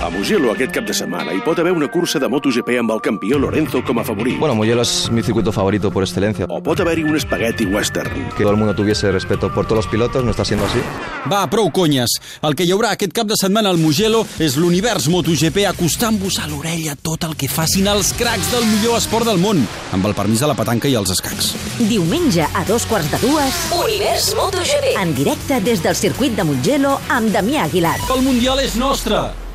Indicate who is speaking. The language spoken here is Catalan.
Speaker 1: A Mugello aquest cap de setmana hi pot haver una cursa de MotoGP amb el campió Lorenzo com a favorit.
Speaker 2: Bueno, Mugello es mi circuito favorito por excelencia.
Speaker 1: O pot haver-hi un espagueti western.
Speaker 2: Que todo el mundo tuviese respeto por todos los pilotos, no está siendo así.
Speaker 3: Va, prou conyes. El que hi haurà aquest cap de setmana al Mugello és l'univers MotoGP acostant-vos a l'orella tot el que facin els cracs del millor esport del món, amb el permís de la petanca i els escacs.
Speaker 4: Diumenge a dos quarts de dues,
Speaker 5: Univers MotoGP.
Speaker 4: en directe des del circuit de Mugello amb Damià Aguilar.
Speaker 3: El Mundial és nostre!